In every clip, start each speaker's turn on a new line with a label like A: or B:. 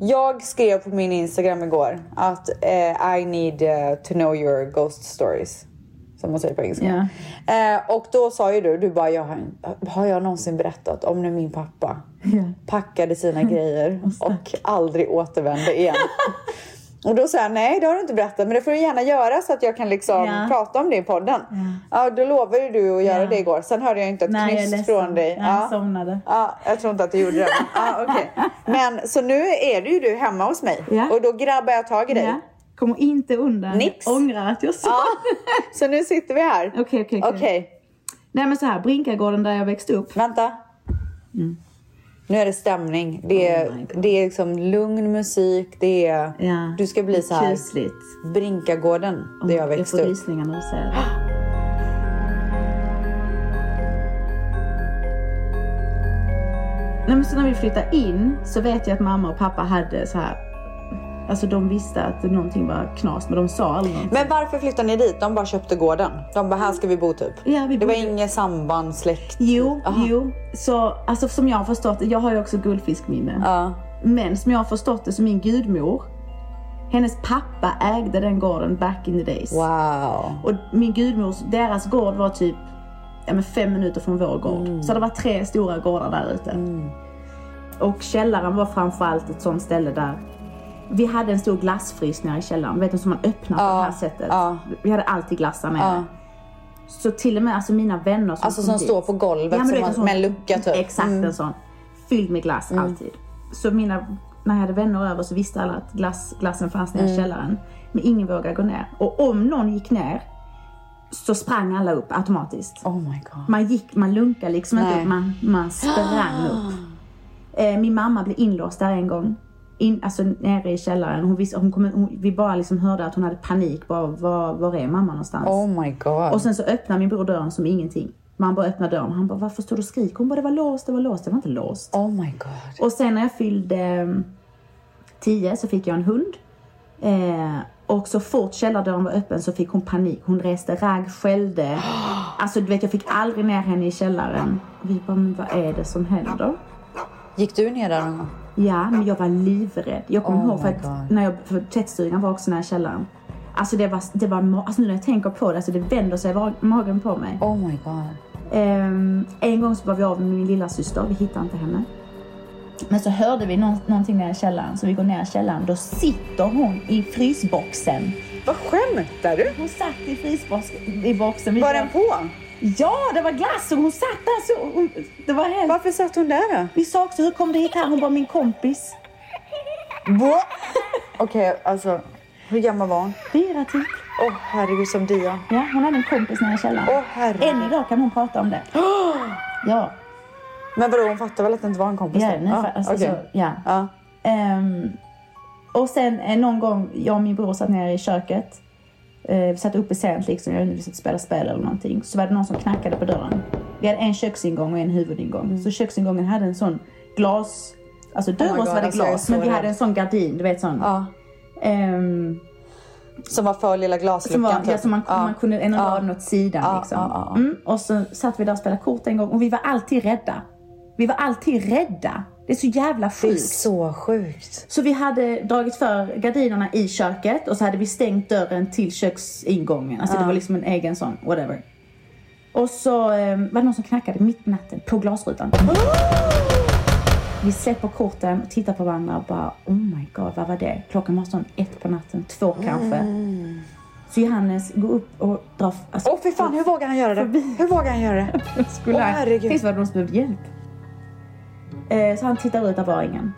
A: Jag skrev på min Instagram igår att eh, I need eh, to know your ghost stories. Som man säger på engelska. Eh, och då sa ju du, du bara, jag har, har jag någonsin berättat om när min pappa
B: Ja.
A: packade sina grejer och aldrig återvände igen? och då sa jag, nej det har du inte berättat, men det får du gärna göra så att jag kan liksom
B: Ja.
A: prata om det i podden. Ja, då lovade ju du att göra
B: Ja.
A: det igår. Sen hörde jag inte ett
B: Nej, jag är
A: knyst
B: ledsen.
A: från dig.
B: Nej,
A: Ja.
B: Jag somnade.
A: Ja, jag tror inte att du gjorde det. Ja, okej. Men så nu är du ju du hemma hos mig
B: Ja.
A: och då grabbar jag tag i dig.
B: Ja. Kommer inte undan.
A: Nix.
B: Ångrar att jag sa
A: Ja.
B: det.
A: Så nu sitter vi här.
B: Okej, okej, okej.
A: Okej,
B: Nej men så här, Brinkagården där jag växte upp.
A: vänta. Nu är det stämning. Det är,
B: Mm. Oh my God.
A: det är liksom lugn musik. Det är...
B: Ja.
A: Du ska bli så här.
B: Kusligt.
A: Brinkagården, där jag växte
B: Jag får
A: upp.
B: rysningar när du säger det. Nej, men så när vi flyttade in så vet jag att mamma och pappa hade så här... Alltså de visste att någonting var knas men de sa aldrig någonting.
A: Men varför flyttade ni dit? De bara köpte gården. De bara, här ska vi bo typ.
B: Ja, vi
A: det var
B: bodde-
A: inget samband, släkt.
B: Jo,
A: Aha.
B: jo. Så alltså som jag har förstått det, jag har ju också guldfiskminne.
A: Ja.
B: Men som jag har förstått det så min gudmor, hennes pappa ägde den gården back in the days.
A: Wow.
B: Och min gudmors, deras gård var typ ja, men fem minuter från vår gård.
A: Mm.
B: Så det var tre stora gårdar där ute. Och källaren var framförallt ett sånt ställe där vi hade en stor glassfrys nere i källaren, vet du, som man öppnar på
A: Ja,
B: det här sättet.
A: ja.
B: Vi hade alltid glassar nere.
A: Ja.
B: Så till och med alltså mina vänner som
A: Alltså
B: kom
A: som
B: dit-
A: står på golvet
B: men du
A: som
B: vet,
A: man-
B: en sån-
A: med en lucka, typ. Mm.
B: Exakt, en sån. Fylld med glass alltid. Så mina, när jag hade vänner över så visste alla att glass, glassen fanns nere i
A: Mm.
B: källaren. Men ingen vågade gå ner. Och om någon gick ner så sprang alla upp automatiskt.
A: Oh my god.
B: Man gick, man lunkade liksom
A: Nej.
B: inte upp, man, man sprang upp. Eh, min mamma blev inlåst där en gång. In, alltså nere i källaren. Hon visste, hon kom, hon, vi bara liksom hörde att hon hade panik. Bara, var, var är mamma någonstans?
A: Oh my god.
B: Och sen så öppnar min bror dörren som ingenting. Man bara öppnar dörren. Han bara, varför står du och skriker? Hon bara, det var låst, det var låst. Det var inte låst.
A: Oh my god.
B: Och sen när jag fyllde eh, 10 så fick jag en hund. Eh, och så fort källardörren var öppen så fick hon panik. Hon reste ragg, skällde. Alltså du vet, jag fick aldrig ner henne i källaren. Vi bara, men vad är det som händer?
A: Gick du ner där någon gång?
B: Ja, men jag var livrädd. Jag kommer
A: Oh
B: ihåg för
A: my
B: att
A: God.
B: när jag, för tvättstugan var också nära källaren. Alltså det var, det var, ma- alltså nu när jag tänker på det, alltså det vänder sig i va- magen på mig.
A: Oh my god.
B: Ehm, en gång så var vi av med min lilla syster. vi hittade inte henne. Men så hörde vi nå- någonting nere i källaren, så vi går ner i källaren. Då sitter hon i frysboxen.
A: Vad skämtar du?
B: Hon satt i frysboxen. I boxen. Vi
A: Var
B: bara-
A: den på?
B: Ja, det var glass och hon satt där så. Hon, det var helt...
A: Varför satt hon där då?
B: Vi sa också, hur kom du hit här? Hon bara, min kompis.
A: Okej, alltså. Hur gammal var hon?
B: Fyra typ.
A: Åh oh, herregud som Dia.
B: Ja, hon hade en kompis nere i källaren.
A: Åh oh, herregud.
B: Än idag kan hon prata om det. Ja,
A: Men vadå hon fattar väl att det inte var en kompis?
B: ja,
A: då?
B: nu,
A: Ja,
B: alltså,
A: okej.
B: så, ja.
A: Ja.
B: Ehm, och sen eh, någon gång, jag och min bror satt nere i köket. Eh, vi satt uppe sent liksom, jag vet inte, vi satt och spelade spel eller någonting. Så var det någon som knackade på dörren. Vi hade en köksingång och en huvudingång. Så köksingången hade en sån glas, alltså dörr
A: Mm. my
B: och så
A: God,
B: var det
A: alltså, jag är
B: glas.
A: så
B: men vi
A: rädd.
B: hade en sån gardin, du vet sån.
A: ja.
B: ehm,
A: Som var för lilla
B: som
A: glasluckan
B: var, ja, som man,
A: Typ Ja.
B: man kunde ändå
A: Ja.
B: dra den åt sidan
A: Ja,
B: liksom.
A: ja, ja, ja.
B: Mm, och så satt vi där och spelade kort en gång och vi var alltid rädda. Vi var alltid rädda. Det är så jävla
A: Det är
B: sjukt.
A: så sjukt.
B: Så vi hade dragit för gardinerna i köket och så hade vi stängt dörren till köksingången. Alltså det var liksom en egen sån, whatever. Och så eh, var det någon som knackade mitt i natten på glasrutan.
A: Oh!
B: Vi släpper korten och tittar på varandra och bara oh my god, vad var det? Klockan var sån ett på natten, två kanske. Så Johannes går upp och drar... Alltså,
A: Mm. Åh fy fan, hur vågar han göra det? Hur vågar han göra det?
B: skulle
A: Åh,
B: han-
A: herregud.
B: Tänk så hade de som behövde hjälp. Eh, så han tittar ut av varingen.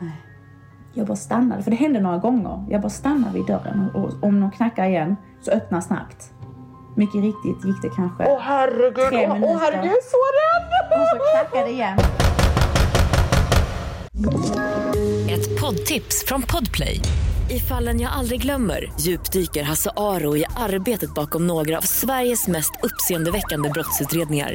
B: Jag bara stannade, för det hände några gånger. Jag bara stannade vid dörren och, och om någon knackar igen så öppna snabbt. Mycket riktigt gick det kanske.
A: Åh herregud,
B: Tre
A: åh
B: minuter.
A: åh, herregud, jag är så rädd!
B: Och så knackade det igen.
C: Ett poddtips från Podplay. I fallen jag aldrig glömmer djupdyker Hasse Aro i arbetet bakom några av Sveriges mest uppseendeväckande brottsutredningar.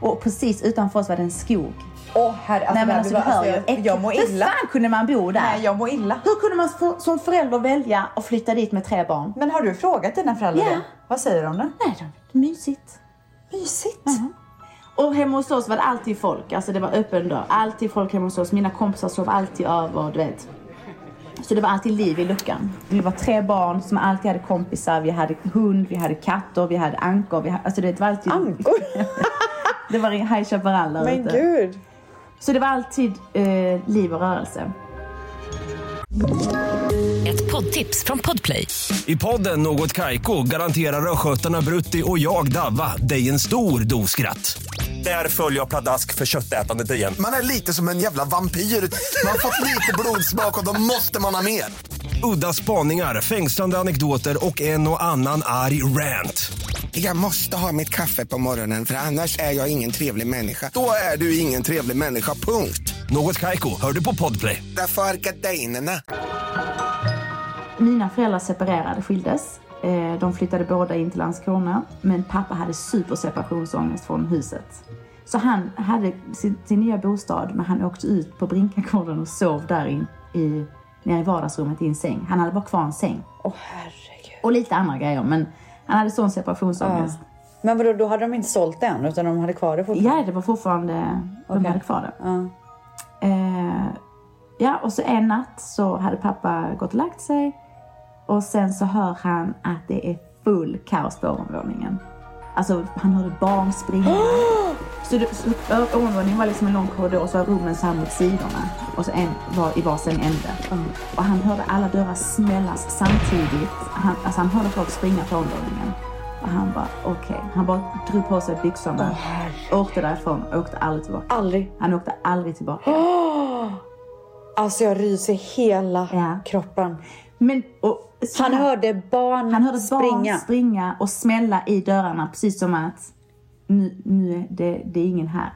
B: Och precis utanför oss var det en skog.
A: Åh herre,
B: Nej men
A: Alltså, det
B: alltså du
A: var-
B: hör ju.
A: jag,
B: äckligt.
A: jag mår
B: Hur
A: illa.
B: fan kunde man bo där?
A: Nej, jag mår illa.
B: Hur kunde man få, som förälder välja att flytta dit med tre barn?
A: Men har du frågat dina föräldrar
B: Ja.
A: det? Vad säger de då?
B: Nej, det är mysigt.
A: Mysigt.
B: Och hemma hos oss var det alltid folk. Alltså det var öppen dörr. Alltid folk hemma hos oss. Mina kompisar sov alltid över, du vet. Så det var alltid liv i luckan. Vi var tre barn som alltid hade kompisar. Vi hade hund, vi hade katter, vi hade ankor. Vi hade, alltså det var alltid...
A: Ankor?
B: Det var High Chaparral där
A: Men
B: ute.
A: gud.
B: Så det var alltid eh, liv och rörelse.
C: Ett poddtips från Podplay.
D: I podden Något Kaiko garanterar östgötarna Brutti och jag, Davva, dig en stor dos skratt. Där följer jag pladask för köttätandet igen.
E: Man är lite som en jävla vampyr. Man har fått lite blodsmak och då måste man ha mer.
D: Udda spaningar, fängslande anekdoter och en och annan arg rant.
F: Jag måste ha mitt kaffe på morgonen för annars är jag ingen trevlig människa.
E: Då är du ingen trevlig människa, punkt.
D: Något Kaiko, hör du på Podplay.
E: Därför är gardinerna.
B: Mina föräldrar separerade, skildes. Eh, De flyttade båda in till Landskrona. Men pappa hade superseparationsångest från huset. Så han hade sin, sin nya bostad, men han åkte ut på Brinkagården och sov där in, i, nere i vardagsrummet i en säng. Han hade bara kvar en säng.
A: Åh herregud.
B: Och lite andra grejer, men han hade sån separationsångest.
A: Men vadå, då hade de inte sålt det än utan de hade kvar det fortfarande?
B: Ja, det var fortfarande... De
A: Okej.
B: hade kvar det.
A: Ja.
B: Eh, ja, och så en natt så hade pappa gått och lagt sig och sen så hör han att det är full kaos på ovanvåningen. Alltså, han hörde barn springa. Så, det, så ö- ovanvåningen var liksom en lång korridor och så var rummen så här mot sidorna och så en var i varsin ände. Och han hörde alla dörrar smällas samtidigt. Han, alltså han hörde folk springa på ovanvåningen. Och han bara okej. Han bara drog på sig byxorna, åkte därifrån och åkte aldrig tillbaka.
A: Aldrig.
B: Han åkte aldrig tillbaka.
A: Alltså jag ryser hela
B: Ja.
A: kroppen.
B: Men, och, så
A: Han
B: här-
A: hörde barn
B: han hörde
A: springa.
B: barn springa och smälla i dörrarna precis som att nu, nu är det, det är ingen här.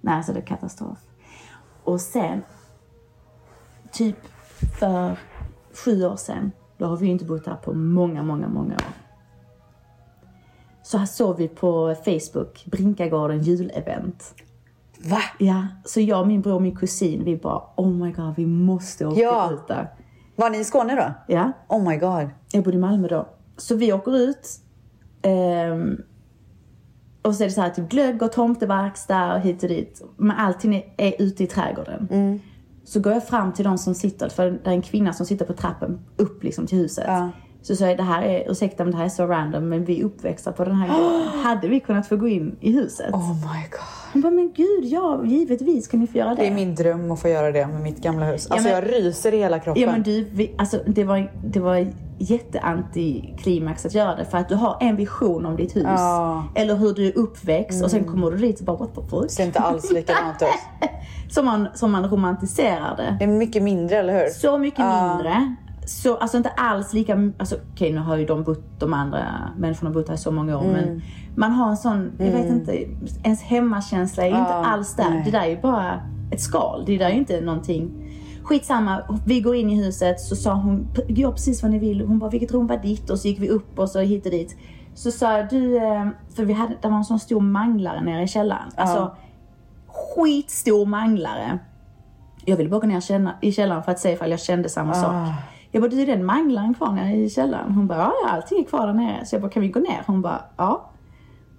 B: Nej, alltså det är katastrof. Och sen, typ för sju år sedan, då har vi ju inte bott här på många, många, många år. Så här såg vi på Facebook, Brinkagården julevent.
A: Va?
B: Ja, så jag, min bror och min kusin, vi bara oh my god, vi måste åka
A: Ja.
B: ut där.
A: Var ni i Skåne då?
B: Ja,
A: Oh my god.
B: jag bodde i Malmö då. Så vi åker ut. ehm, och så är det så här typ glögg och tomteverkstad och hit och dit. Men allting är, är ute i trädgården. Så går jag fram till de som sitter, för det är en kvinna som sitter på trappen upp liksom till huset. Så säger jag, det här är, ursäkta men det här är så random men vi är uppväxta på den här gården. Hade vi kunnat få gå in i huset?
A: Oh my god.
B: Hon bara, men gud ja, givetvis kan ni få göra det.
A: Det är min dröm att få göra det med mitt gamla hus. Alltså
B: men-
A: jag ryser i hela kroppen.
B: Ja men du, vi, alltså, det var, det var jätteantiklimax att göra det för att du har en vision om ditt hus.
A: Ja.
B: Eller hur du är uppväxt och sen kommer du dit och bara what the fuck?
A: Det ser inte alls likadant ut.
B: Som man, som man romantiserar det.
A: Det är mycket mindre, eller hur?
B: Så mycket mindre. Så alltså inte alls lika, alltså okej nu har ju de bott, de andra människorna bott här i så många år men man har en sån, jag vet inte, ens hemmakänsla är ju inte alls där. Det där är ju bara ett skal, det där är ju inte någonting. Skitsamma, vi går in i huset så sa hon, gör precis vad ni vill. Hon bara, vilket rum var ditt? Och så gick vi upp och så hit och dit. Så sa jag, du, eh, för vi hade, det var en sån stor manglare nere i källaren. Alltså skitstor manglare. Jag ville bara gå ner känna, i källaren för att se ifall jag kände samma sak. Jag bara, du är den manglaren kvar nere i källaren? Hon bara, ja ja, allting är kvar där nere. Så jag bara, kan vi gå ner? Hon bara, ja.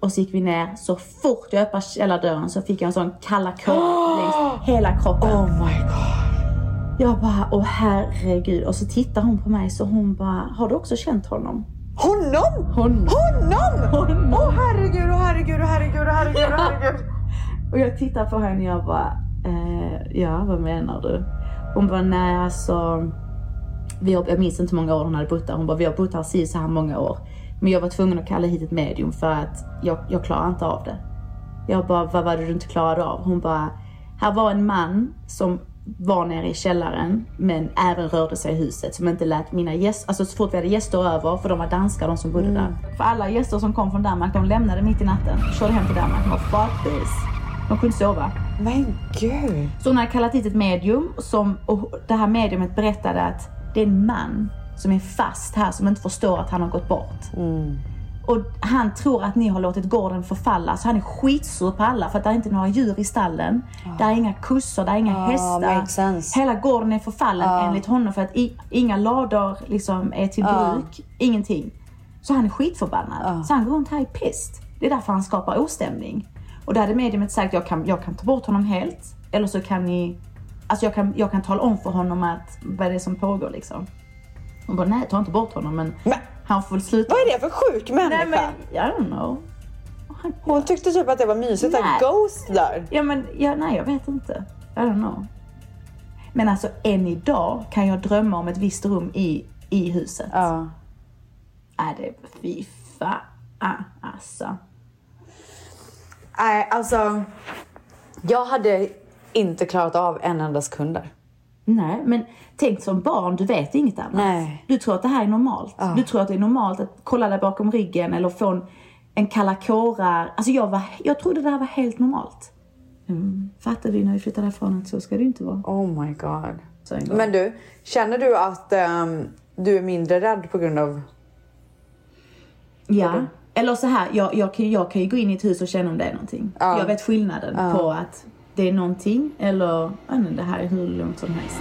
B: Och så gick vi ner, så fort jag öppnade källardörren så fick jag en sån kalla kår längs hela kroppen.
A: Oh my god.
B: Jag bara, åh herregud. Och så tittar hon på mig så hon bara, har du också känt honom?
A: Honom!
B: Hon.
A: Honom!
B: Honom.
A: Åh herregud, åh herregud, åh herregud, åh herregud, åh herregud.
B: Och jag tittar på henne och jag bara, eh, ja vad menar du? Hon bara, nej alltså. Vi har, jag minns inte hur många år hon hade bott där. Hon bara, vi har bott här si så här många år. Men jag var tvungen att kalla hit ett medium för att jag, jag klarar inte av det. Jag bara, vad var det du inte klarade av? Hon bara, här var en man som var nere i källaren men även rörde sig i huset som inte lät mina gäster, alltså så fort vi hade gäster över, för de var danskar de som bodde där. För alla gäster som kom från Danmark, de lämnade mitt i natten, körde hem till Danmark. De bara, fuck this. De kunde inte sova.
A: Men gud.
B: Så hon hade kallat hit ett medium som, och det här mediumet berättade att det är en man som är fast här som inte förstår att han har gått bort. Och han tror att ni har låtit gården förfalla så han är skitsur på alla för att det är inte några djur i stallen. Det är inga kossor, det är inga
A: Ah. makes sense. Ah.
B: hästar. Hela gården är förfallen enligt honom för att i, inga lador liksom är till
A: Ah.
B: bruk. Ingenting. Så han är skitförbannad. Så han går runt här i pest. Det är därför han skapar ostämning. Och där hade mediumet sagt jag kan, jag kan ta bort honom helt. Eller så kan ni... Alltså jag kan, jag kan tala om för honom att vad det är som pågår liksom. Hon bara, nej ta inte bort honom men,
A: Men-
B: han får väl sluta.
A: Vad är det för sjuk människa?
B: Nej men, I don't know. Han,
A: Hon tyckte typ att det var mysigt
B: Nej.
A: att Ghost där.
B: ja men, ja, nej jag vet inte. I don't know. Men alltså än idag kan jag drömma om ett visst rum i, i huset.
A: Ja.
B: Är det, fy fan alltså.
A: Nej, alltså. Jag hade inte klarat av en enda sekund där.
B: Nej, men tänk som barn, du vet inget annat.
A: Nej.
B: Du tror att det här är normalt. Du tror att det är normalt att kolla dig bakom ryggen eller få en, en kalla kårar. Alltså jag, var, jag trodde det här var helt normalt. Mm. Fattade vi när vi flyttade härifrån att så ska det ju inte vara.
A: Oh my god.
B: Så en gång.
A: Men du, känner du att ehm, du är mindre rädd på grund av...
B: Ja. Eller så här, jag, jag, kan, ju- jag kan ju gå in i ett hus och känna om det är någonting. Jag vet skillnaden på att det är någonting eller ja, men det här är hur lugnt som helst.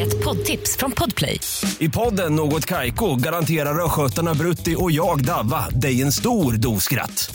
C: Ett poddtips från Podplay.
D: I podden Något Kaiko garanterar östgötarna Brutti och jag, Davva, dig en stor dos skratt.